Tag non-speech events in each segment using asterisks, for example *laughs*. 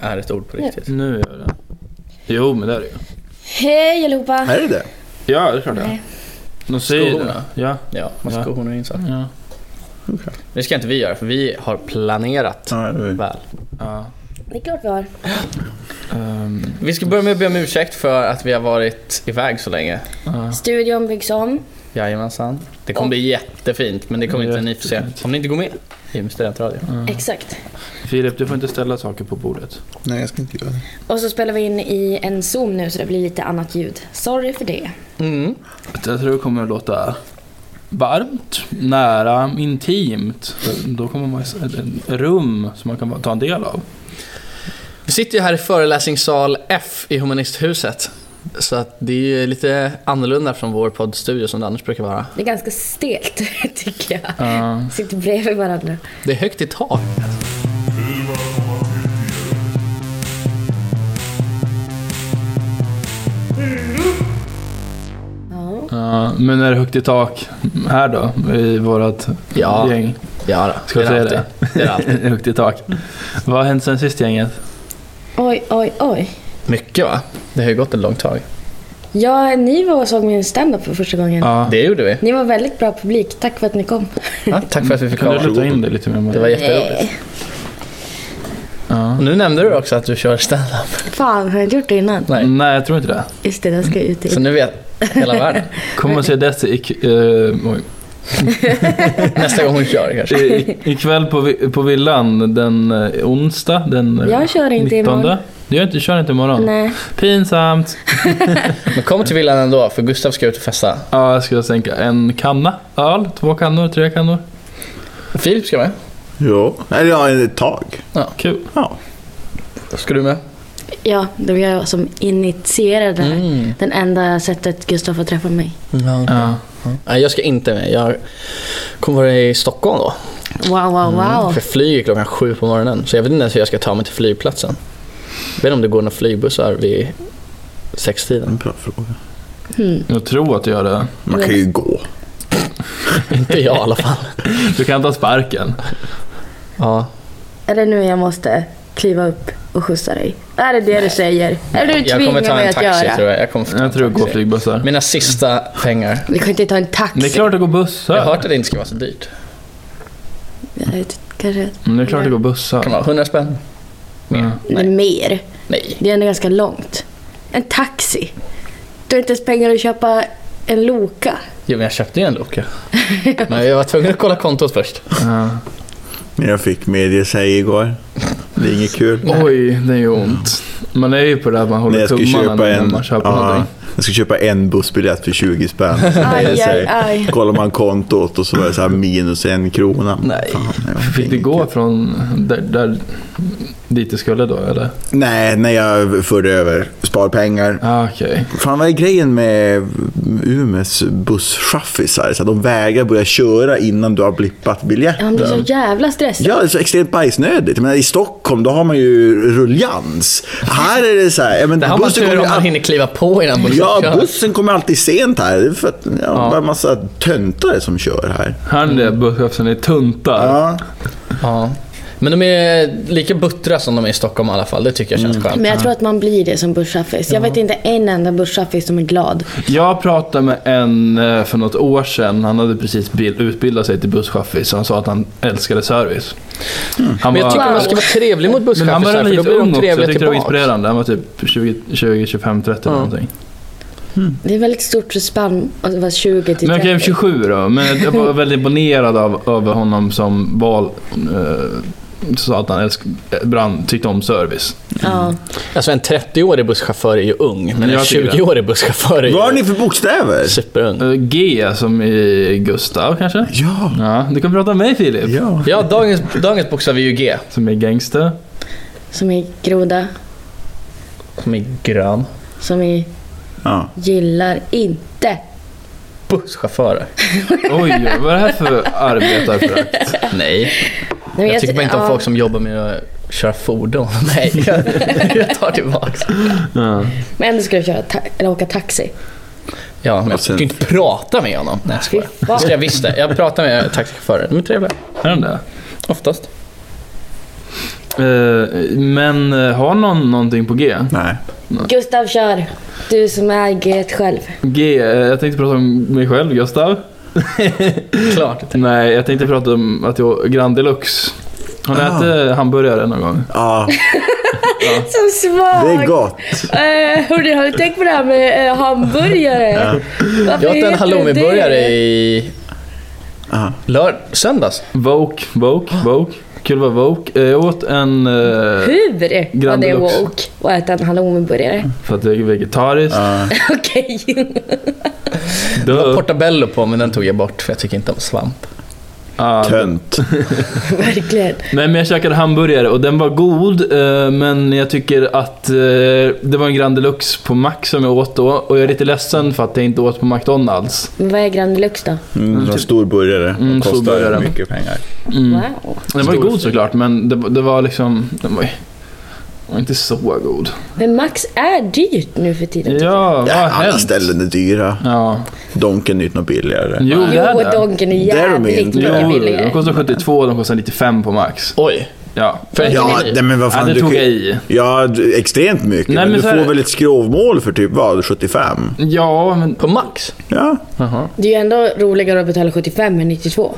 är ett ord på riktigt. Nu gör det. Jo, men det är det ju. Hej allihopa! Är det det? Ja, det är klart det är. Nej. De säger ju det. Skorna. Ja. Ja, man ska Ja. hona in saker. Ja. Det ska inte vi göra för vi har planerat Ja, det är- väl. ja. Det är klart vi har. Ehm, Vi ska börja med att be om ursäkt för att vi har varit iväg så länge. ja. Studion byggs om. Jajamensan. Det kommer bli jättefint men det kommer inte ni få se Jättefint. om ni inte går med i studentradio. Exakt. Filip, du får inte ställa saker på bordet. Nej, jag ska inte göra det. Och så spelar vi in i en zoom nu så det blir lite annat ljud. Sorry för det. Mm. Jag tror det kommer att låta varmt, nära, intimt. Då kommer man se ett rum som man kan ta en del av. Vi sitter ju här i föreläsningssal F i Humanisthuset. Så att det är ju lite annorlunda från vår poddstudio som det annars brukar vara. Det är ganska stelt *laughs* tycker jag. Ehm, Sitter bredvid varandra. Det är högt i tak. Ja. ja, men är det högt i tak här då? I vårt Ja. gäng? Ja, då. Ska jag det är säga alltid. Det är alltid. *laughs* högt i tak. Vad har hänt sen sist gänget? Oj, oj, oj. Mycket va? Det har ju gått ett långt tag. Ja, ni var och såg min standup för första gången. Ja. Det gjorde vi. Ni var väldigt bra publik. Tack för att ni kom. Ja, tack för att vi fick Kan komma. du luta in det lite mer? Maria? Det var jätteroligt. Ja. Och nu nämnde du också att du kör standup. Fan, har jag inte gjort det innan? Nej. Nej, jag tror inte det. Just det, den ska ut Så i. nu vet hela *laughs* världen. Kom och se detta ik- eh, oj. Nästa gång hon kör kanske. I- *laughs* i- ikväll på, vi- på villan den eh, onsdag den eh, Jag kör inte 19. imorgon. Du gör inte, kör inte imorgon? Nej. Pinsamt. Men kom till villan ändå för Gustav ska ut och festa. Ja, jag ska sänka en kanna öl, två kannor, tre kannor. Filip ska med. Jo. Eller ja, ett tag. Kul. Ja. Ska du med? Ja, det var jag som initierade det Mm. här. Den enda sättet Gustav har träffat mig. Ja. Nej, jag ska inte med. Jag kommer vara i Stockholm då. Wow, wow, wow. För jag flyger klockan sju på morgonen. Så jag vet inte ens hur jag ska ta mig till flygplatsen. Jag vet inte om det går några flygbussar vid sextiden. *laughs* En bra fråga. Jag tror att du gör det. Man kan ju gå. inte jag i alla fall. Du kan ta sparken. Ja. Är det nu jag måste kliva upp och skjutsa dig? Är det det du säger? Är det du Jag kommer tvingar ta mig en att taxi göra? tror jag. Jag kommer få ta en Jag tror det går taxi. flygbussar. Mina sista pengar. Vi kan inte ta en taxi. Det är klart det går Jag har hört bussar. att det inte ska vara så dyrt. Jag vet, kanske Men det är klart det går bussar. Kan vara 100 spänn? Ja. Nej. Men mer. Nej. Det är ändå ganska långt. En taxi. Du har inte ens pengar att köpa *laughs* en Loka. Jo, men jag köpte ju en *laughs* Loka. Men jag var tvungen att kolla kontot först. Ja. Men jag fick medie sig igår. Det är inget kul. Oj, det gör ont. Man är ju på det att man Nej, håller jag ska tummarna köpa när en, man köper ja, någonting. jag ska köpa en bussbiljett för *laughs* 20 spänn. Aj, aj, aj. Kollar man kontot och så var det så här minus en krona. Nej. Fan, det var Fick det inget gå kul. från där, där dit det skulle då eller? Nej, när jag förde över sparpengar. Ah, Okej. Fan vad är grejen med Umeås busschaffisar? Så att de vägrar börja köra innan du har blippat Han blir så biljetten. jävla stressad. Ja, det är så extremt bajsnödigt. Men I Stockholm då har man ju rullians. Här är det så här... Ja, men Där har man bussen tur kommer om ju man all- hinner kliva på innan bussen Ja, kör. bussen kommer alltid sent här. Det är för att ja, bara en massa töntare som kör här. Han är busschauffören är tuntar. Ja. Ja. Men de är lika buttra som de är i Stockholm i alla fall. Det tycker jag känns skönt. Men jag tror att man blir det som busschaffis. Jag vet inte en enda busschaffis som är glad. Jag pratade med en eh, för något år sedan. Han hade precis bil- utbildat sig till busschaffis. Så han sa att han älskade service. Han Men jag tycker var, man ska vara trevlig mot men han var busschaffisar för då lite blir de ung också. Jag trevliga tyckte det var tillbaka. inspirerande. Han var typ 20, 20 25, 30 Ja. eller någonting. Det är väldigt stort spann, alltså, att vara 20 till Men okej, 30. 27 då. Men *laughs* jag var väldigt imponerad av, av honom som val... Eh, sa att han älsk, brann, tyckte om service. Ja. Alltså en 30-årig busschaufför är ju ung, men en Jag tycker det. 20-årig busschaufför är ju Vad har ni för bokstäver? superung. Eh, G som i Gustav kanske? Ja. Ja, du kan prata om mig Filip. Ja. Ja, dagens, dagens bokstav är ju G. Som är gangster. Som i groda, Som är grön. som i ja. gillar inte. Busschaufförer. Oj, vad är det här för arbetarförakt? *laughs* Nej, Nej, men jag tycker ty- bara inte ja. om folk som jobbar med att köra fordon. *laughs* Nej, jag, jag tar tillbaks. Ja. Men ändå ska du köra ta- eller åka taxi. Ja, men jag Och Alltså, sen- ska ju inte prata med honom. Nej, jag skojar. Fy fan. Det ska jag visst det. Jag pratar med taxichaufförer. De är trevliga. Är den det? Oftast. Eh, men eh, har någon någonting på G? Nej. Gustav kör. Du som är G själv. G, eh, jag tänkte prata om mig själv, Gustav. Klart. Nej, jag tänkte prata om att jag Grand Deluxe. Har ni Ah. ätit eh, hamburgare någon gång? Ja, Så svag! det är gott. Eh, hörni, har du tänkt på det här med eh, hamburgare? Varför Jag åt heter en det halloumiburgare det? i Ja. lörd söndags. Woke, woke, Ah. woke. Kul att vara woke. Eh, Jag åt en... eh, Hur var Grand det Deluxe. Mm. woke att äta en halloumiburgare? För att jag är vegetarisk. Ja. *laughs* Okej. *laughs* Det var Duh. portabello på men den tog jag bort för jag tycker inte om svamp. Ah. Tönt. Verkligen. Nej men jag käkade hamburgare och den var god eh, men jag tycker att eh, det var en Grand Deluxe på Mac som jag åt då och jag är lite ledsen för att jag inte åt på McDonalds. Men vad är Grand Deluxe då? Mm, en stor burgare. Mm, Mm, stor kostar burgare. mycket pengar. Mm. Wow. Den var ju Stor god fin. såklart men det, det var liksom... Den var, ju- den var inte så god. Men Max är dyrt nu för tiden. tycker jag. Ja, vad Ja, har alla hänt? ställen är dyra. Ja. Donken är inte något billigare. Jo, det är Jo, det. Donken är Där är de jävligt inte. Jo, mycket de billigare. kostar 72 och de kostar 95 på Max. Oj. Ja. För Ja, nej, men vad ja fan. det du tog kan- jag i. Ja, du- extremt mycket. Nej, men men du så här- får väl ett skrovmål för typ vad, 75? Ja, men... På Max? Ja, Jaha. Det är ju ändå roligare att betala 75 än 92.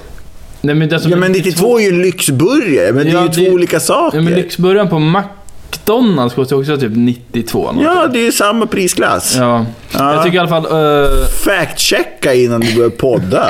Nej, men det som ja men 92 är ju en lyxburgare, men det Ja, är ju det- två olika saker. Ja, men lyxburgaren på McDonalds kostar också typ 92 någonting. Ja, det är ju samma prisklass. Ja. Ja. Jag tycker i alla fall... eh, Fact-checka innan du *laughs* börjar podda.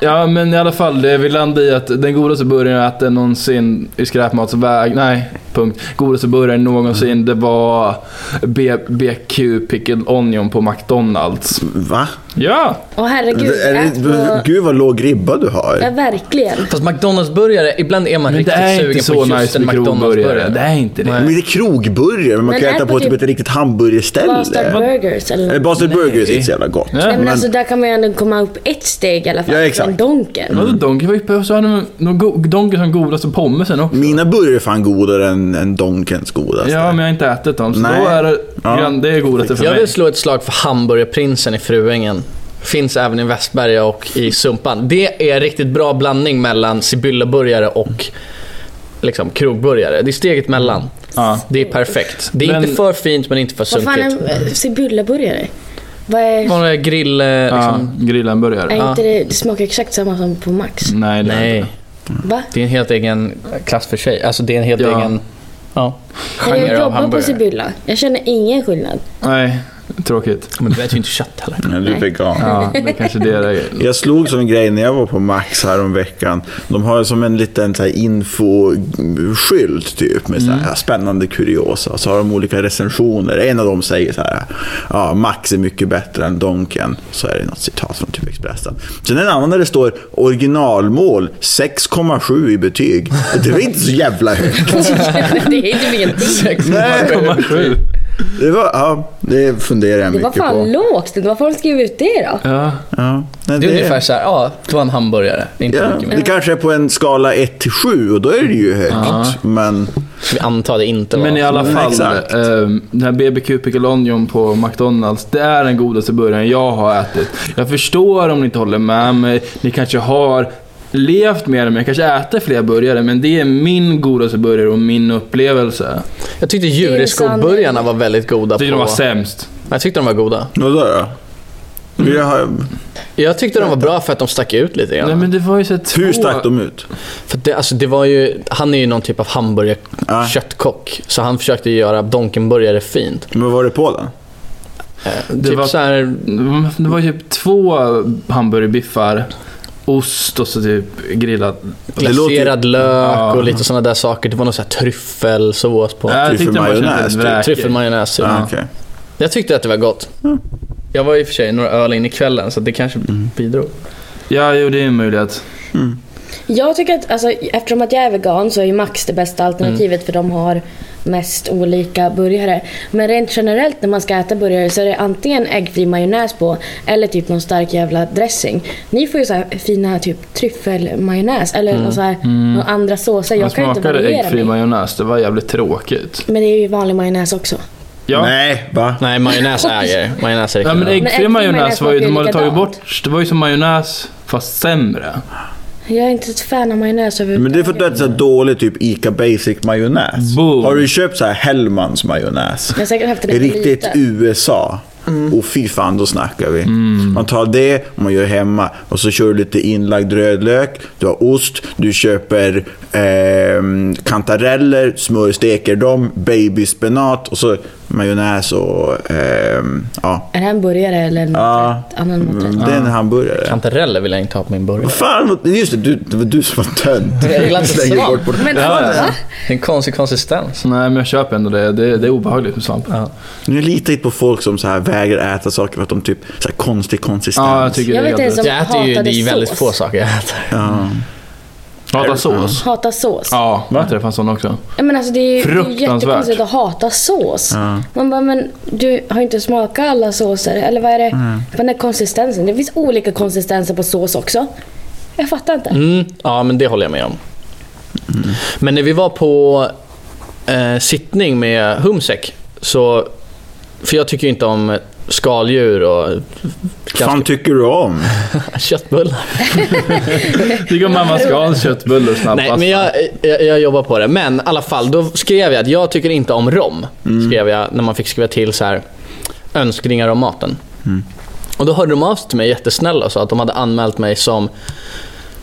ja, men i alla fall, det vi landade i att den godaste burgaren jag ätit någonsin i skräpmatsväg... Nej, punkt. Godaste burgaren någonsin, Mm. det var B- BQ Pickle Onion på McDonalds. Va? Ja! Åh herregud. är ät det, på- Gud vad låg ribba du Ja, har. verkligen. Fast McDonalds-burgare, ibland är man Men det riktigt är sugen inte på så just nice en med krogburgare. McDonalds-burgare. Det är inte det. Nej. Men det är krogburgare, men man Men kan ät äta på på typ typ ett riktigt hamburgerställe. Bastard Burgers eller Eller något. Bastard Burgers är inte så jävla gott. Ja. Nej, men men- alltså där kan man ju ändå komma upp ett steg i alla fall. Ja, exakt. Mm. Från Donken. Vadå Donken? Vad är- Så hade de- de go- Donken som godaste pommesen Mm. också. Mina burgare är fan godare än, än Donkens godaste. Ja, men jag har inte ätit dem. Så Nej. då är det, Ja. gran- det är godaste för Jag mig. vill slå ett slag för hamburgerprinsen i Fruängen. Finns även i Västberga och i Sumpan. Det är en riktigt bra blandning mellan Sibyllaburgare och liksom, krogburgare. Det är steget mellan. Ja. Det är perfekt. Det är Men- inte för fint men inte för Vad fan sunkigt. är Sibyllaburgare? Vad är... Vanliga grill... eh, Liksom. Ja, grilla en burgare. Är inte det, det smakar exakt samma som på Max. Mm. Nej, det är Nej, inte. Va? det är en helt egen klass för sig. Alltså det är en helt Ja. egen... Ja. Eller Genre jag av jobbar på hamburgare. Sibylla. Jag känner ingen skillnad. *laughs* Nej, tråkigt. Men du äter ju inte kött *laughs* heller. Men du är vegan. Ja, det är kanske det *laughs* det är. Jag slog som en grej när jag var på Max häromveckan. De har som en liten så här infoskylt typ med så här, Mm. spännande kuriosa. Så har de olika recensioner. En av dem säger så här, ja, Max är mycket bättre än Donken. Så är det något citat från typ Expressen. Sen en annan där det står originalmål 6,7 i betyg. Det var inte så *laughs* jävla högt. det är typ inte min tid. Nej, Sju. det, var, ja, det funderar jag Det var mycket fan på. lågt. Varför har de skrivit ut det då? Ja. Ja, nej, Det är ungefär så här, ja, det var en hamburgare. Det är inte Ja, mycket mer. det kanske är på en skala 1 till 7 och då är det ju högt. Ja. Men Vi antar det inte var. Men i alla Mm, fall, exakt. ehm, den här BBQ Pickle Onion på McDonalds, det är den godaste burgaren jag har ätit. Jag förstår om ni inte håller med mig, ni kanske har levt med det, men jag kanske äter fler burgare, men det är min godaste burgare och min upplevelse. Jag tyckte Jureskogburgarna var väldigt goda. Jag tycker de var på- sämst. Jag tyckte de var goda. Mm. vadå då? Vi har, Jag tyckte de var bra för att de stack ut lite grann. Nej men det var ju så här två... hur stack de ut? För det, alltså, det var ju, han är ju någon typ av Ja. hamburgerköttkock. Så han försökte ju göra donkenburgare fint. Men vad var det på den? Det typ var- var... så här, Det var typ två hamburgerbiffar, ost och så typ grillad... Det låter ju- glaserad lök Ja. och lite sådana där saker. Det var någon så här tryffelsås på. Nej, jag tyckte den var tryffelmajonnäs, kändes vräkig. Tryffelmajonnäs. typ. Ah, okej. Jag tyckte att det var gott. Mm. Jag var i och för sig några öl in i kvällen så det kanske bidrog. Ja, jo det är en möjlighet. Jag tycker att, alltså, eftersom att jag är vegan så är ju Max det bästa alternativet för de har mest olika burgare. Men rent generellt när man ska äta burgare så är det antingen äggfri majonnäs på eller typ någon stark jävla dressing. Ni får ju så här fina typ tryffelmajonnäs eller någon så här, några andra såser. Jag Jag kan ju inte smakade variera äggfri mig. majonnäs, det var jävligt tråkigt. Men det är ju vanlig majonnäs också. Ja. Nej, va? Nej, majonnäs äger. *laughs* Majonnäs är Ja riktigt men bra. äggfri äggfri majonnäs majonnäs var ju, de smakar hade ju tagit likadant. bort, det var ju som majonnäs fast sämre. Jag är inte ett fan av majonnäs Men överhuvudtaget. det är för att du äter så här dålig typ Ica Basic majonnäs. Boom. Har du köpt så här Hellmans majonnäs? Jag har säkert haft det när jag var Riktigt liten. USA. Mm. Och fy fan, då snackar vi. Man tar det och man gör hemma. Och så kör du lite inlagd rödlök, du har ost, du köper ehm, kantareller, smörsteker dem, babyspenat och så majonnäs och... ehm, ja. Är det en burgare eller en Ja. Mm, maträtt? annan maträtt? Det är en hamburgare. Kantareller vill jag inte ha på min burgare. Fan, just det, du, det var du som var tönt. Jag gillar inte Slänger svamp. bort på- Men Ja, ja. va? Det är en konstig konsistens. Nej, men jag köper ändå det. Det, det är obehagligt med svamp. Ja, Nu litar jag inte på folk som så här vägrar äta saker för att de typ så här konstig konsistens. jag tycker Jag det är vet helt inte rätt. ens Jag äter ju, det är ju hatade väldigt sås. få saker jag äter. Ja. Hatar sås. Hata sås. Ja, man äter det fan sån också. Ja, Men alltså, det är ju det är ju Fruktansvärt. jättekonstigt att hata sås. Man bara, men du har ju inte smakat alla såser. Eller vad är det? Vad är konsistensen? Det finns olika konsistenser på sås också. Jag fattar inte. Mm, ja, men det håller jag med om. Men när vi var på eh, sittning med Humsek, så, för jag tycker ju inte om skaldjur och Fan ganska- tycker du om? *laughs* köttbullar. Tycker mamma ska ha en köttbulle och snabbast. Nej, men jag, jag, jag jobbar på det. Men i alla fall, då skrev jag att jag tycker inte om rom. Mm. Skrev jag när man fick skriva till så här, önskningar om maten. Mm. Och då hörde de av sig till mig jättesnälla och sa att de hade anmält mig som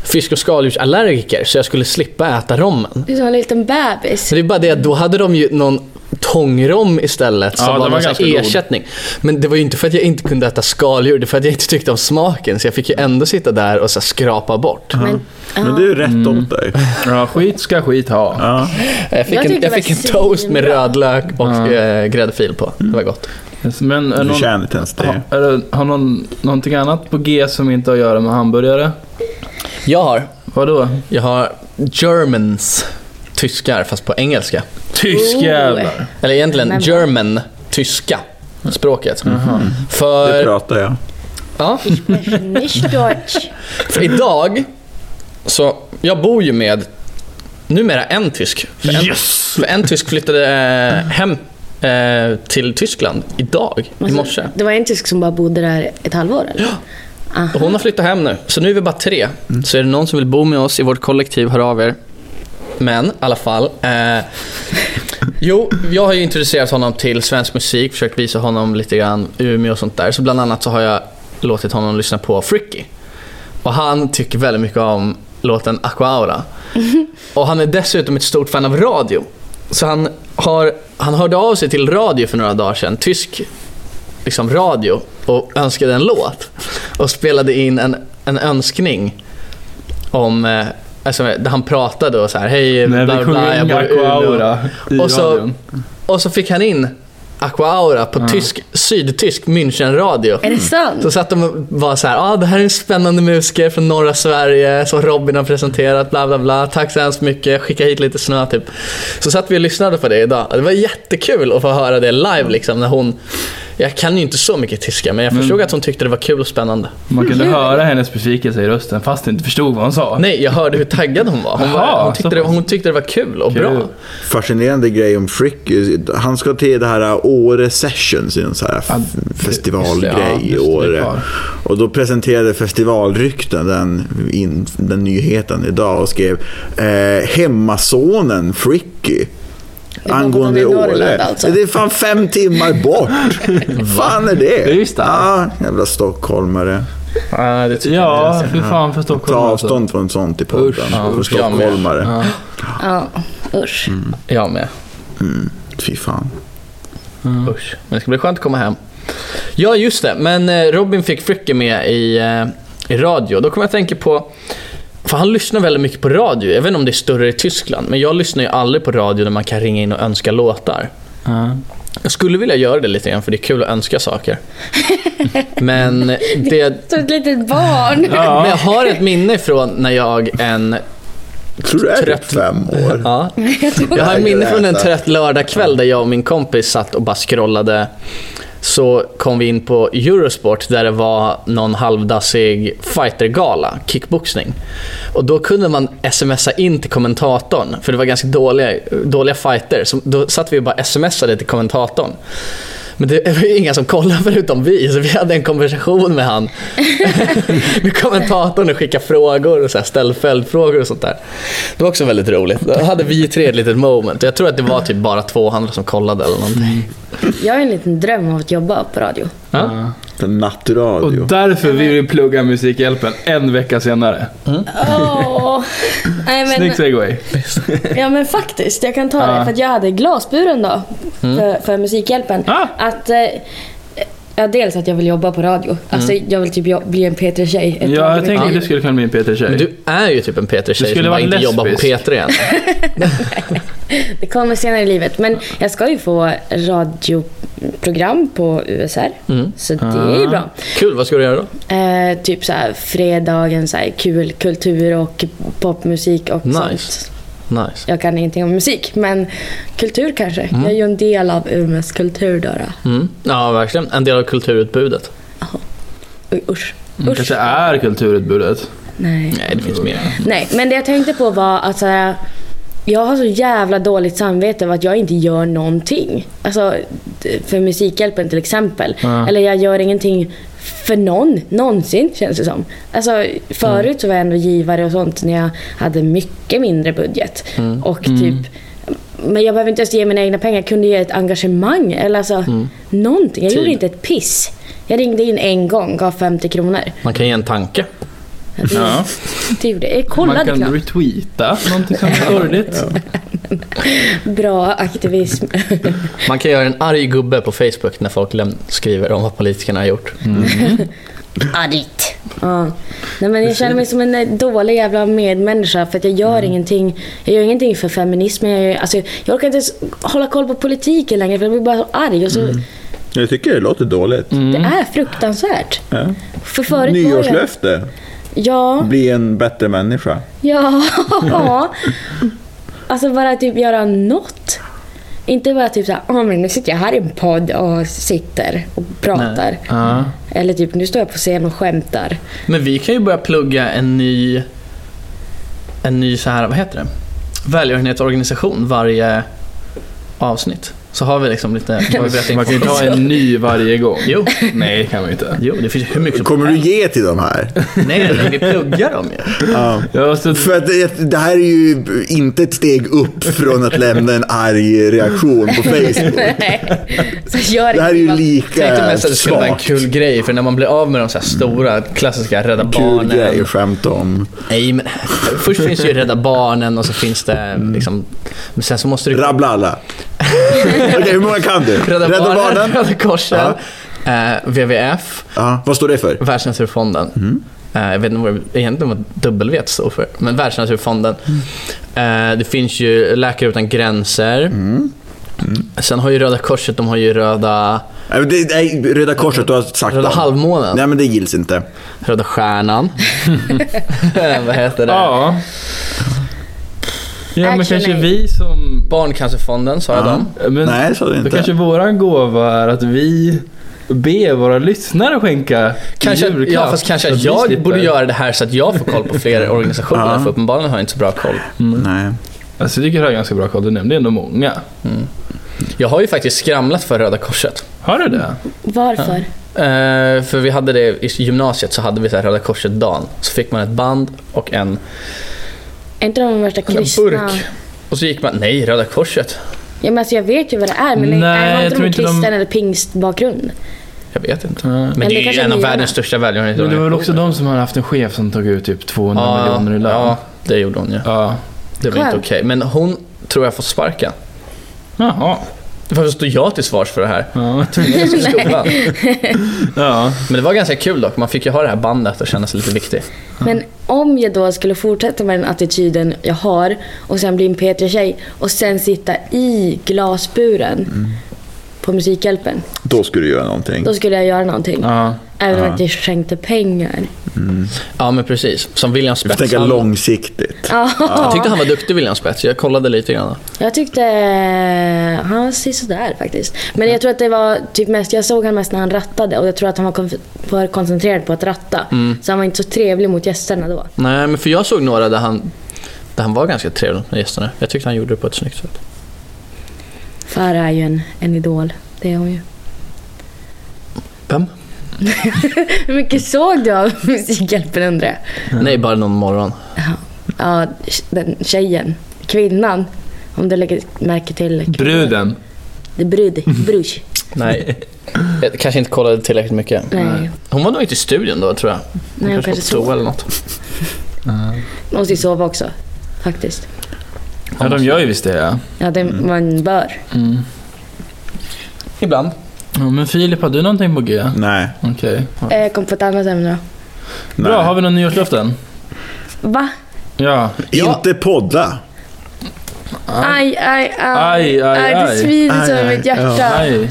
fisk och skaldjursallergiker så jag skulle slippa äta rommen. Du är som en liten bebis. Så det är bara det att då hade de ju någon tångrom istället som Ja, den var var någon sån ganska här god. ersättning. Men det var ju inte för att jag inte kunde äta skaldjur, det var för att jag inte tyckte om smaken. Så jag fick ju ändå sitta där och så här skrapa bort. Men, Men det är ju rätt åt dig. Ja, skit ska skit ha. Ja. Jag fick Jag en, tyckte jag det fick var en toast med svinbra. rödlök och Ja. eh, gräddfil på. Det var gott. Men är Du någon, förtjänar inte ens det. ha, är det, har någon någonting annat på G som inte har att göra med hamburgare? Jag har, Vadå? Oh. jag har Germans, tyskar fast på engelska. Tysk Oh. jävlar. Eller egentligen Men- German, tyska språket. Mm. Det För, pratar jag. ja, Nicht Deutsch. för idag, så jag bor ju med numera en tysk. För en, Yes! för en tysk flyttade eh, hem eh, till Tyskland idag, i morse. Alltså, Det var en tysk som bara bodde där ett halvår eller? Ah. Och Hon har flyttat hem nu, så nu är vi bara tre. Så är det någon som vill bo med oss i vårt kollektiv, hör av er. Men i alla fall. Eh, jo, jag har ju introducerat honom till svensk musik, försökt visa honom lite grann Umeå och sånt där. Så bland annat så har jag låtit honom lyssna på Fricky. Och han tycker väldigt mycket om låten Aqua Aura. Och han är dessutom ett stort fan av radio. Så han, har, han hörde av sig till radio för några dagar sedan, tysk liksom, radio, och önskade en låt. Och spelade in en, en önskning om eh, Alltså, där han pratade och så här, hej, bla, Nej, bla, bla, vi sjunger jag in bor i Umeå." Aqua Aura i Och så- radion. Och så fick han in Aqua Aura på tysk, sydtysk Münchenradio. Är det sant? Så satt de och var så här, ah, det här är en spännande musiker från norra Sverige som Robin har presenterat, bla bla bla. Tack så hemskt mycket, skicka hit lite snö typ. Så satt vi och lyssnade på det idag. Det var jättekul att få höra det live liksom när hon jag kan ju inte så mycket tyska men jag förstod att hon tyckte det var kul och spännande. Man kunde höra hennes besvikelse i rösten fast jag inte förstod vad hon sa. Nej, jag hörde hur taggad hon var. Hon, var, Jaha, hon, tyckte, så det, pass. hon tyckte det var kul och bra. Kul. Fascinerande grej om Frick. Han ska till det här Åre Sessions, en sån här f- ja, festivalgrej just det, det i är Åre. kvar. Och då presenterade Festivalrykten den, in, den nyheten idag och skrev eh, Hemmasonen Fricky. är bara Angående borta i Norrland, Åre. alltså. Det är fan fem *laughs* timmar bort. fan är det? Det är ju starkt. Ja, jävla stockholmare. Ah, Ja, det tycker Ja, fy fan för Ta Stockholm alltså. avstånd från sånt i podden. Usch, Från usch, jag med. stockholmare. Ja, usch. jag med. Fy fan. Usch. Men det ska bli skönt att komma hem. Ja, just det. Men eh, Robin fick Fricke med i, eh, i radio. Då kommer jag att tänka på... För han lyssnar väldigt mycket på radio. Jag vet inte om det är större i Tyskland, men jag lyssnar ju aldrig på radio där man kan ringa in och önska låtar. Ja. Jag skulle vilja göra det lite grann, för det är kul att önska saker. Men det... Som ett litet barn. Ja. Men jag har ett minne från när jag en... Tror du är Trött. typ fem år? Ja, *laughs* Jag har minne från en trött lördagkväll där jag och min kompis satt och bara scrollade. Så kom vi in på Eurosport där det var någon halvdassig fightergala, kickboxning. Och då kunde man smsa in till kommentatorn, för det var ganska dåliga, dåliga fighter. Så då satt vi och bara smsade till kommentatorn. Men det var ju inga som kollade förutom vi, så vi hade en konversation med han. *laughs* med kommentatorn och skickade frågor och så här, ställ följdfrågor och sånt där. Det var också väldigt roligt. Då hade vi tre ett litet moment. Jag tror att det var typ bara två andra som kollade eller någonting. Jag har en liten dröm om att jobba på radio. Ja. En Ah. Och nattradio. därför vill vi plugga Musikhjälpen en vecka senare. Åh! Nej, men- Snygg segway. Ja men faktiskt, jag kan ta det. Ja. Mm. För att jag hade glasburen då, för, för Musikhjälpen. Ah. Att, eh, ja, dels att jag vill jobba på radio. Mm. Alltså jag vill typ jo- bli en P3-tjej. ett tag i Ja, jag mitt tänker att liv. du skulle kunna bli en Men Peter-tjej. du är ju typ en P3-tjej som skulle bara vara inte jobbar på lesbisk. P3 än. Det kommer senare i livet. Men jag ska ju få radioprogram på USR. Så det är ju Ah. bra. Mm. Kul, vad ska du göra då? Eh, typ så här fredagen, så här, kul kultur och popmusik och Nice. sånt. Nice. Jag kan ingenting om musik, men kultur kanske. Mm. Jag är ju en del av Umeås kultur då. då. Mm. Ja, verkligen. En del av kulturutbudet. Oj, Usch. Du Usch. Mm, kanske är kulturutbudet. Nej. Nej, det finns mer. Nej, men det jag tänkte på var att så här, jag har så jävla dåligt samvete över att jag inte gör någonting. Alltså, d- för Musikhjälpen till exempel. Ja. Eller jag gör ingenting för någon, någonsin känns det som. Alltså, Mm. förut så var jag ändå givare och sånt när jag hade mycket mindre budget. Mm. Och typ, men jag behöver inte ens ge mina egna pengar. Jag kunde ge ett engagemang eller alltså, Mm. någonting. Tid. Jag Typ. gjorde inte ett piss. Jag ringde in en gång, gav 50 kronor. Typ Man kan ge en tanke. Ja. Det gjorde jag. Jag Man kollade kan knappt. retweeta någonting som är sorgligt. Bra aktivism. Man kan göra en arg gubbe på Facebook när folk läm- skriver om vad politikerna har gjort. Argt. Ja. Nej, men jag känner mig som en eh, dålig jävla medmänniska för att jag Mm. gör ingenting. Jag gör ingenting för feminismen. Jag, gör, alltså, jag orkar inte ens hålla koll på politiken längre för jag blir bara så arg. Och så, Mm. Jag tycker det låter dåligt. Mm. Det är fruktansvärt. Ja. För förut var jag- Mm. Nyårslöfte. Ja. Bli en bättre människa. Ja. *laughs* alltså bara typ göra något. Inte bara typ såhär, oh, men nu sitter jag här i en podd och sitter och pratar. Ja. Eller typ, nu står jag på scen och skämtar. *laughs* Men vi kan ju börja plugga en ny, en ny så här, vad heter det? Välgörenhetsorganisation varje avsnitt. Så har vi liksom lite... Har vi berättat Man kan ju ta en ny varje gång. Jo, Nej, det kan man ju inte. jo, det finns ju hur mycket som Kommer du ge till de här? Nej, nej, vi pluggar dem ju. *laughs* Ja. Ja, så För att det, det här är ju inte ett steg upp från att lämna en arg *laughs* reaktion på Facebook. *laughs* Nej. Så gör Det här är ju inte bara- Jag tänkte lika mest att det skulle vara en Äh, svagt. kul grej, för när man blir av med de så här stora klassiska Rädda Kul Barnen. grej att skämta om. Nej, men först finns ju Rädda Barnen och så finns det liksom... Men sen så måste du... *laughs* Rabbla alla. Okej, hur många kan du? Rädda, Rädda Barnen? Röda Korsen, eh, WWF, Ja, vad står det för? Världsnaturfonden. Eh, jag vet inte vad det egentligen vad W står för, men Världsnaturfonden. Eh, det finns ju Läkare Utan Gränser. Sen har ju Röda Korset, de har ju Röda, Nej, men det- Nej, Röda Korset, du har sagt röda dem. Halvmånen, Nej, men det gills inte. Röda Stjärnan. vad heter det? ja. Ja, men Action kanske aid. vi som... Barncancerfonden, sa jag Ja. dem. Men Nej, så är det Då inte. kanske våran gåva är att vi ber våra lyssnare skänka Kanske, i julklapp. ja, fast kanske Så att att vi jag slipper. borde göra det här så att jag får koll på fler organisationer, Ja. för uppenbarligen har jag inte så bra koll. Nej. Alltså, jag tycker det här är ganska bra koll. Du nämnde ändå många. Jag har ju faktiskt skramlat för Röda Korset. Har du det? Varför? Eh, för vi hade det i gymnasiet, så hade vi så här Röda Korset-dagen. Så fick man ett band och en, Är inte de de värsta en kristna? burk. Och så gick man, nej Röda Korset. Ja, men alltså, jag vet ju vad det är, men Nej, Nej, har jag inte tror de inte de- kristen eller pingstbakgrund? Jag vet inte. Men Men det det är ju kanske en av ni gör. världens största det var väl också välgörenhetsorganisationer. de som har haft en chef som tog ut typ 200 Ja, miljoner i lön? ja, det gjorde hon ju. ja. Det var inte Skönt. okej. Men hon tror jag får sparken. Jaha. Varför står jag till svars för det här? Ja. Tvingades till skolan. ja. Men det var ganska kul dock. Man fick ju ha det här bandet och känna sig lite viktig. Men om jag då skulle fortsätta med den attityden jag har och sen bli en P3-tjej och sen sitta i glasburen Mm. på Musikhjälpen, Då skulle du göra någonting. då skulle jag göra någonting. ja. Även om att jag skänkte pengar. Ja men precis. Som William Du får Spets. tänka Han- långsiktigt. Jag tyckte han var duktig William Spets. Jag kollade lite grann. *laughs* Jag tyckte eh, han var sådär faktiskt. Men jag tror att det var typ mest, jag såg han mest när han rattade och jag tror att han var konf- för koncentrerad på att ratta. Mm. Så han var inte så trevlig mot gästerna då. Nej men för jag såg några där han, där han var ganska trevlig med gästerna. Jag tyckte han gjorde det på ett snyggt sätt. Farah är ju en, en idol, det är hon ju. Hur mycket såg du av *laughs* Musikhjälpen undrar jag? Nej, bara någon morgon. Ja. Ja, den tjejen. Kvinnan. Om du lägger märke till. kvinnan. Bruden. Det är brud. Mm. *laughs* Brus. Nej. *laughs* Jag kanske inte kollade tillräckligt mycket. Nej. Hon var nog inte i studion då tror jag. Hon Nej, hon kanske var på toa sov. eller något. Man måste ju sova också. Faktiskt. Ja, de gör ju visst det. Ja. Ja, det Mm. man bör. Ibland. Ja, men Filip, har du någonting på G? Nej. Okej. Ja. Eh, Jag kom på ett annat ämne nej. Bra, har vi någon nyårslöften? då. Va? Ja. Ja. Inte podda. Aj, aj, aj. Ah. Aj, aj, Det aj. svider så Aj, i aj. mitt hjärta. Nej,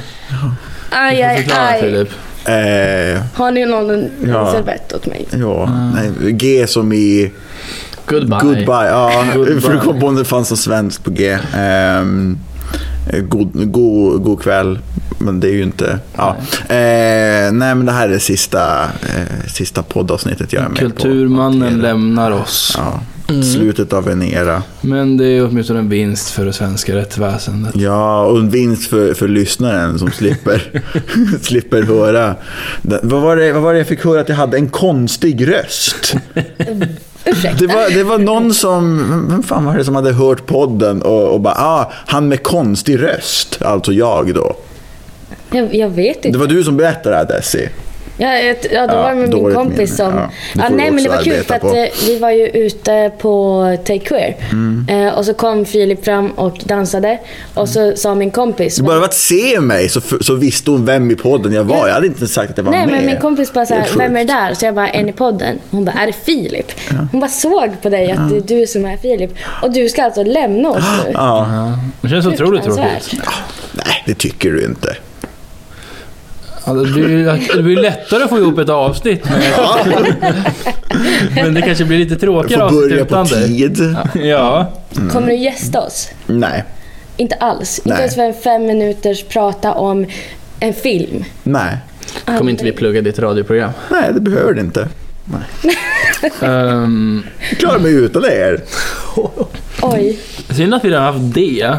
Aj, du får aj, förklara aj. Filip. Eh, Har ni någon Ja. servett åt mig? ja, nej, G som i Goodbye. goodbye. Ja, Goodbye. För det kom på om det fanns något svenskt på G. Ehm, god, god, god kväll, men det är ju inte... Ja. Eh, nej, men det här är det sista, eh, sista poddavsnittet jag är med på. Kulturmannen lämnar. lämnar oss. Ja. Slutet av en era. Men det är åtminstone en vinst för det svenska rättsväsendet. Ja, och en vinst för, för lyssnaren som *laughs* slipper, *laughs* slipper höra. Det, vad, var det, vad var det jag fick höra att jag hade? En konstig röst. Mm. Det var, det var någon som, vem- vem fan var det som hade hört podden och, och bara, ah, han med konstig röst, alltså jag då. Jag, jag vet Det inte. var du som berättade det här Desi. Ja, jag- ja, då Ja, var det med min dåligt kompis minne. som... Ja, Ja, det får du nej, men det också var kul för arbeta att på. eh, vi var ju ute på Take Queer. Mm. Eh, och så kom Filip fram och dansade. Och så sa min kompis... Så bara av att se mig så, så visste hon vem i podden jag var. Jag hade inte sagt att jag var Nej med. men min kompis bara Helt såhär, sjukt. vem är det där? Så jag bara, en i podden. Hon bara, är det Filip? Hon bara såg på dig att det är du som är Filip. Och du ska alltså lämna oss nu. Ja. Det känns otroligt tråkigt. Fruktansvärt. Nej, det tycker du inte. Ja, det, blir, ju- det blir lättare att få ihop ett avsnitt. Men, men det kanske blir lite Jag tråkigare får avsnitt börja på utan dig. tid. Ja. Kommer du gästa oss? Nej. Inte alls. Mm. Nej. Inte ens för en fem minuters prata om en film. Nej. Kommer inte vi plugga ditt radioprogram? Nej, det behöver det inte. Ehm, Jag klarar mig utan er. Oj. synd att vi redan haft det.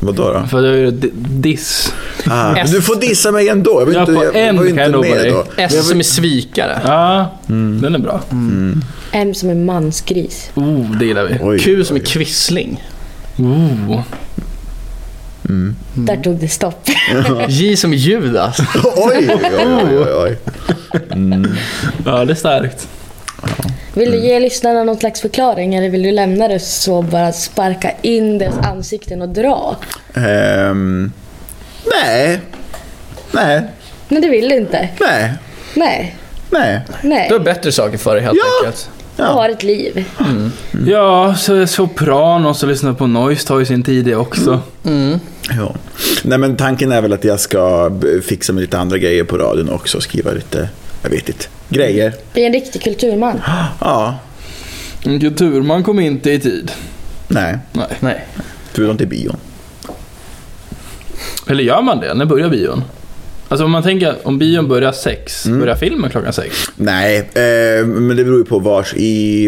Vadå då? För det är ju di- diss. Ah, men du får dissa mig ändå. Jag var Ja, inte, på jag, en jag var ju kan jag inte lova med dig. då. Men jag S var- som är svikare. Ja, den är bra. En som en mansgris. Oh, det gillar vi. Oj. Q som är kvissling. Oh. Där tog det stopp. J som är Judas. *laughs* Oj, oj, oj, oj, oj. Ja, det är starkt. Vill du Mm. ge lyssnarna någon slags förklaring eller vill du lämna det så bara sparka in deras ansikten och dra? Ehm, nej. Nej, Men det vill du inte. nej, Nej. nej. Nej. Du har bättre saker för dig helt Ja. enkelt. Jag Ja. har ett liv. Mm. Ja, så Sopranos och lyssna på Noise tar ju sin tid det också. Ja. Nej, men tanken är väl att jag ska b- fixa med lite andra grejer på radion också. Skriva lite, jag vet inte, grejer. Bli en riktig kulturman. Ja, En kulturman kom inte i tid. nej. Nej. Nej. Förutom till bion. Eller gör man det? När börjar bion? Alltså om man tänker, om bion börjar sex, börjar filmen klockan sex? Nej, eh, men det beror ju på vars. I,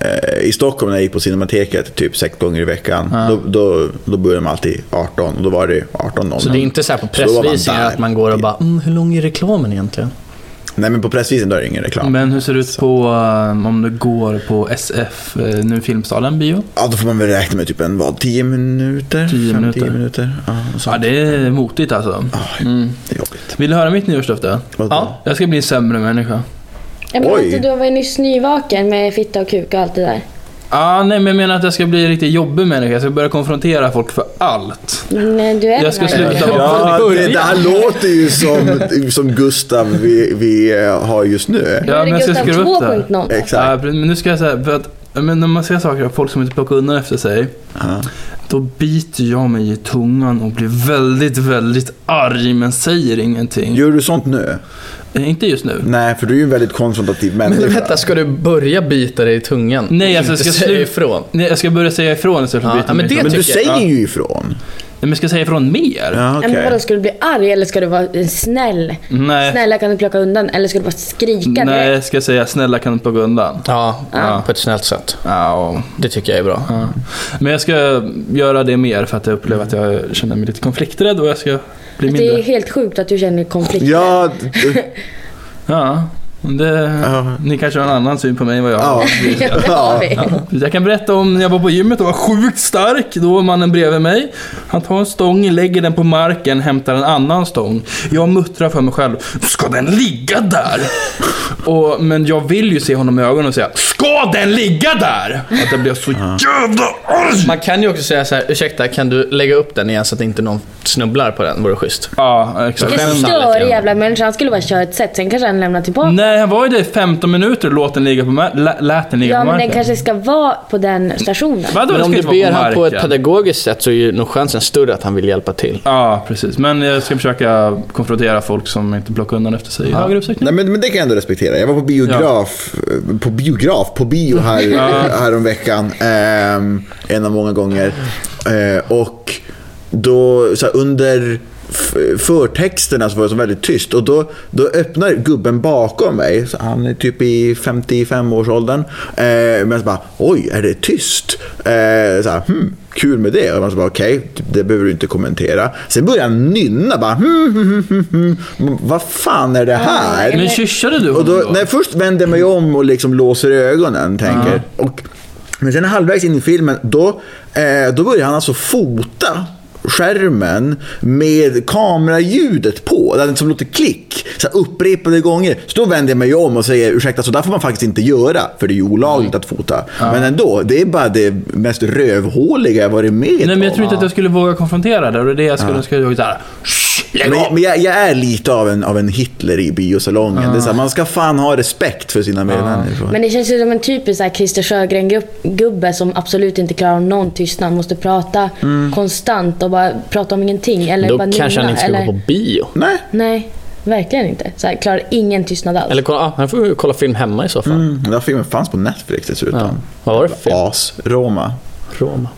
eh, I Stockholm när jag gick på Cinemateket typ sex gånger i veckan, då, då, då började de alltid 18 och då var det 18 Så det är inte så här på Så då var man pressvisningar där. att man går och bara mm, “Hur lång är reklamen egentligen?” Nej men på pressvisen då är det ingen Mm. reklam. Men hur ser det ut på, eh, om du går på SF, eh, nu Filmstaden bio? Ja, då får man väl räkna med typ en vad, 10 minuter? 10 Fem, minuter. 10 minuter. Ja, och Ah, sånt. Ja, det är motigt alltså. det är jobbigt. Vill du höra mitt nyårslöfte? Vad då? Ja, jag ska bli en sämre människa. Jag menar Oj. inte, du var ju nyss nyvaken med fitta och kuk och allt det där. Ah, nej, men jag menar att jag ska bli en riktigt jobbig människa. Jag ska börja konfrontera folk för allt. Men eh, du är Jag ska den här. sluta vara Ja, fan, det, det här låter ju som, *laughs* som Gustav vi, vi eh, har just nu. Du är Ja, men jag ska Gustav skriva upp det här. 2.0. Exakt. Ja, precis. men nu ska jag säga, för att ja, men när man ser saker av folk som inte plockar undan efter sig, Ja. då biter jag mig i tungan och blir väldigt, väldigt arg men säger ingenting. Gör du sånt nu? Eh, Inte just nu. Nej, för du är ju en väldigt konfrontativ Men människa. vänta, ska du börja bita dig i tungan? Nej, alltså, jag Inte ska säga slu- ifrån. Nej, jag ska börja säga ifrån istället för att Ja, bita men mig i det- tungan. Men du tycker jag. säger ju ifrån. Nej, Men jag ska säga ifrån mer. Ja, Ja, Men okej. vadå, ska du bli arg eller ska du vara eh, snäll? Nej. Snälla kan du plocka undan? Eller ska du bara skrika Nej, direkt? jag ska säga snälla kan du plocka undan. Ja, Ja. på ett snällt sätt. Ja, Det tycker jag är bra. ja. Men jag ska göra det mer för att jag upplever att jag känner mig lite konflikträdd och jag ska blir Det är mindre. helt sjukt att du känner konflikt. Ja, d- Ja, men det, Ja. ni kanske har en annan syn på mig än vad jag har. ja. *laughs* Ja, *laughs* det har vi. Jag kan berätta om när jag var på gymmet och var sjukt stark. Då var mannen bredvid mig. Han tar en stång, lägger den på marken, hämtar en annan stång. Jag muttrar för mig själv. Ska den ligga där? Och, men jag vill ju se honom i ögonen och säga. Ska den ligga där? Att jag blev så jävla arg. Man kan ju också säga så här: ursäkta kan du lägga upp den igen så att inte någon snubblar på den, vore schysst. Ja, exakt. Vilken Skäms han störig lite? jävla människa. Han skulle bara köra ett set, sen kanske han lämnar tillbaka. Nej, han var ju där i 15 minuter och låt den ligga på, mar- lä- lät den ligga Ja, på men den marken. kanske ska vara på den stationen. Vadå, Men den om ska du inte vara ber han på ett marken? pedagogiskt sätt så är ju nog chansen större att han vill hjälpa till. Ja, precis. Men jag ska försöka konfrontera folk som inte plockar undan efter sig i högre utsträckning. *laughs* Nej, men, men det kan jag ändå respektera. Jag var på biograf, eh, på biograf, på bio här, häromveckan. ehm, en av många gånger. Eh, och då, så här, under f- förtexterna så var det så väldigt tyst. Och då, då öppnar gubben bakom mig, så han är typ i 55-årsåldern. Eh, men så bara, oj, är det tyst? Eh, så här, hmm. Kul med det. Och man så bara, okej, det behöver du inte kommentera. Sen börjar han nynna bara, hmm, hmm, hmm, hmm, hmm. Vad fan är det här? Men kyssade du Och honom då, då? nej, först vänder jag mig om och liksom låser ögonen. Tänker. Och, men sen halvvägs in i filmen, då, eh, då börjar han alltså fota skärmen med kameraljudet på. Det är som låter klick. Så här upprepade gånger. Så då vänder jag mig om och säger ursäkta, så där får man faktiskt inte göra. För det är ju olagligt att fota. Men ändå, det är bara det mest rövhåliga jag varit med Nej men jag om. tror inte att jag skulle våga konfrontera det. Och det är det jag skulle önska. Jag såhär, lägg Men, av! men jag, jag är lite av en, av en Hitler i biosalongen. Det är så här, man ska fan ha respekt för sina medmänniskor. Men det känns ju som en typisk så här Christer Sjögren-gubbe som absolut inte klarar av någon tystnad. Måste prata Mm. konstant och bara prata om ingenting. Eller bara Då kanske han nynna, inte ska eller... gå på bio. Nej. Nej, verkligen inte. Så här, klarar ingen tystnad alls. Eller kolla, ah, han får ju kolla film hemma i så fall. Mm, den här filmen fanns på Netflix dessutom. Ja. Vad var det för film? As, Roma. Roma.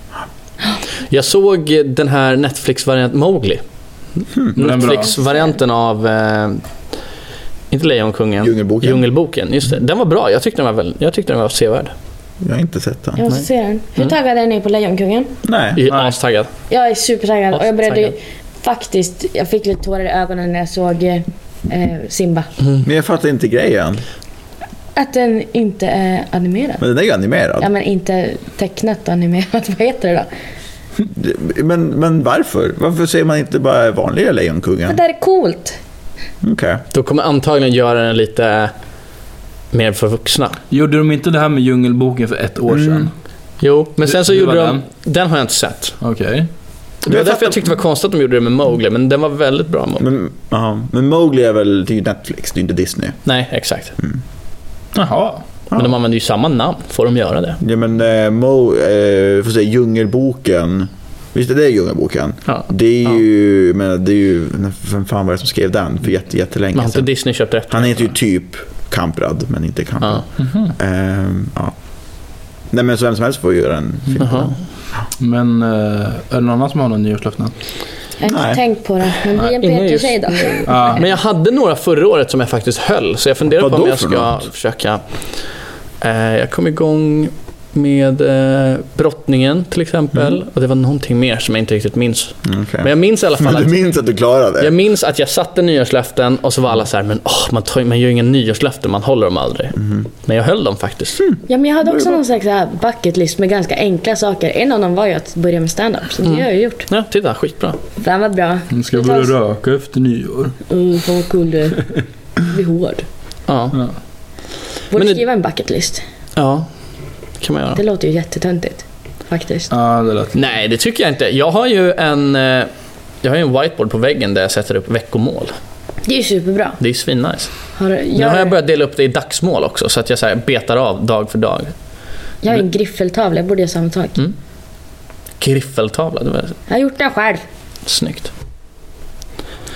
Jag såg den här Netflix-varianten, Mowgli. Hmm. den är bra. Netflix-varianten av, eh, inte Lejonkungen, Djungelboken. Djungelboken, just det. Den var bra, jag tyckte den var, väl, jag tyckte den var sevärd. Jag har inte sett den. Jag måste se den. Hur Mm. taggad är ni på Lejonkungen? Nej. Jag är astaggad. Jag är supertaggad och jag började Astaggad. faktiskt, jag fick lite tårar i ögonen när jag såg eh, Simba. Men jag fattar inte grejen. Att den inte är animerad. Men den är ju animerad. Ja men inte tecknat och animerat, *laughs* vad heter det då? Men, men varför? Varför ser man inte bara vanliga Men Lejonkungen? det här är coolt. Okej. Då kommer antagligen göra den lite mer för vuxna. Gjorde de inte det här med Djungelboken för ett år sedan? Jo, men sen så Det- det gjorde var de... Den har jag inte sett. Okej. Det var jag därför fattar- jag tyckte det var konstigt att de gjorde det med Mowgli, men den var väldigt bra. Mowgli. Men, ja. men Mowgli är väl det är ju Netflix, det är ju inte Disney. Nej, exakt. Jaha. Men de använder ju samma namn. Får de göra det? Ja, men eh, Mo, eh, får säga, Djungelboken. Visst är det Djungelboken? Ja. Det är ju, jag menar, det är ju, vem fan var det som skrev den för jätte, Men har jättelänge inte sedan? Disney köpt rätt? Han heter ju typ Kamprad, men inte Kamprad. Ja. Mhm. Ehm, ja. Nej men så vem som helst får göra en film. Jaha. Men eh, är det någon annan som har någon nyårslöften? Jag har Nej. inte tänkt på det, men bli en ingen Peter-tjej då. Ja. Men jag hade några förra året som jag faktiskt höll, så jag funderar på Vadå om jag för ska något? försöka... Eh, jag kom igång med eh, Brottningen till exempel, och det var någonting mer som jag inte riktigt minns. Mm, Men okej. jag minns i alla fall Men att... *laughs* du minns att du klarade Jag det? minns att jag satte nyårslöften och så var alla så här, men åh, man, tar, man gör ju inga nyårslöften, man håller dem aldrig. Men jag höll dem faktiskt. Ja, men jag hade också någon slags så här bucket list med ganska enkla saker. En av dem var ju att börja med stand-up, så det Mm. har jag ju gjort. Ja, titta, skitbra. Den var bra. Nu Mm, ska jag börja röka efter nyår. Uh, fan vad kul du är. Bli hård. Ja, Mm. Borde Men det- skriva en bucket list. ja det kan man göra. Det låter ju jättetöntigt. Faktiskt. Ja, det lät... Nej, det tycker jag inte. Jag har ju en, eh, jag har ju en whiteboard på väggen där jag sätter upp veckomål. Det är ju superbra. Det är ju svinnice. Har, du- Nu har jag, jag jag, börjat dela upp det i dagsmål också, så att jag så här betar av dag för dag. har en griffeltavla, jag borde göra samma sak. Griffeltavla, det var Jag har gjort den själv. snyggt.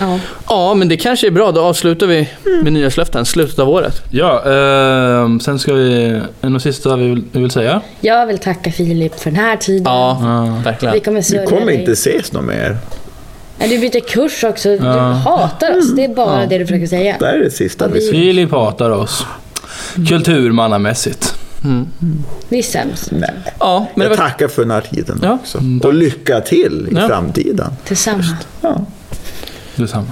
Ja. Ja, men det kanske är bra. Då avslutar vi med nyårslöften, slutet av året. Ja, eh, sen ska vi... Är det något sista vi vill, vi vill säga? Jag vill tacka Filip för den här tiden. Ja, Ja. verkligen. Vi kommer Du sörja kommer dig. inte ses någon mer. Ja, Du byter kurs också. Du Ja. hatar oss. Det är bara det du försöker säga. Det här är det sista vi ses. Filip hatar oss. Kulturmannamässigt. Vi är sämst. Nej. Ja, men det Jag var... tackar för den här tiden Ja. Mm, också. Och lycka till i Ja. framtiden. Tillsammans. Ja. Detsamma.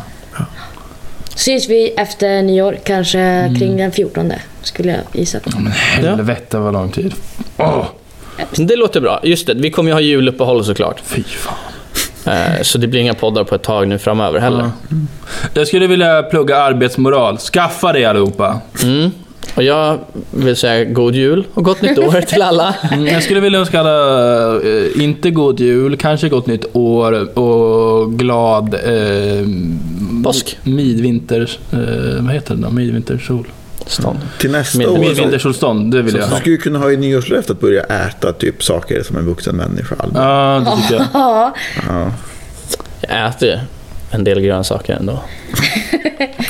Syns vi efter nyår, kanske kring den 14 skulle jag gissa på. Men helvete vad lång tid. Åh, Det låter bra. Just det, vi kommer ju ha juluppehåll såklart. fy fan. Eh, så det blir inga poddar på ett tag nu framöver heller. Jag skulle vilja plugga arbetsmoral. Skaffa det allihopa. Och jag vill säga god jul och gott nytt år till alla. Mm, Jag skulle vilja önska alla, eh, inte god jul, kanske gott nytt år och glad eh, Påsk. midvinter... Eh, vad heter det då? Midvintersol? Stånd. Till nästa Min- år. min så- Midvintersolstånd, det vill jag. Du skulle ju kunna ha i nyårslöfte att börja äta typ saker som en vuxen människa. allmänt. Ja, det tycker jag. Ja, Ja. Jag äter ju en del grönsaker ändå.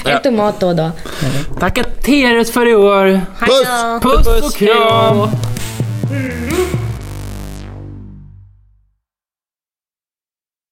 en tomat då och då. Tacka Teres för i år. Hej då! Puss och kram.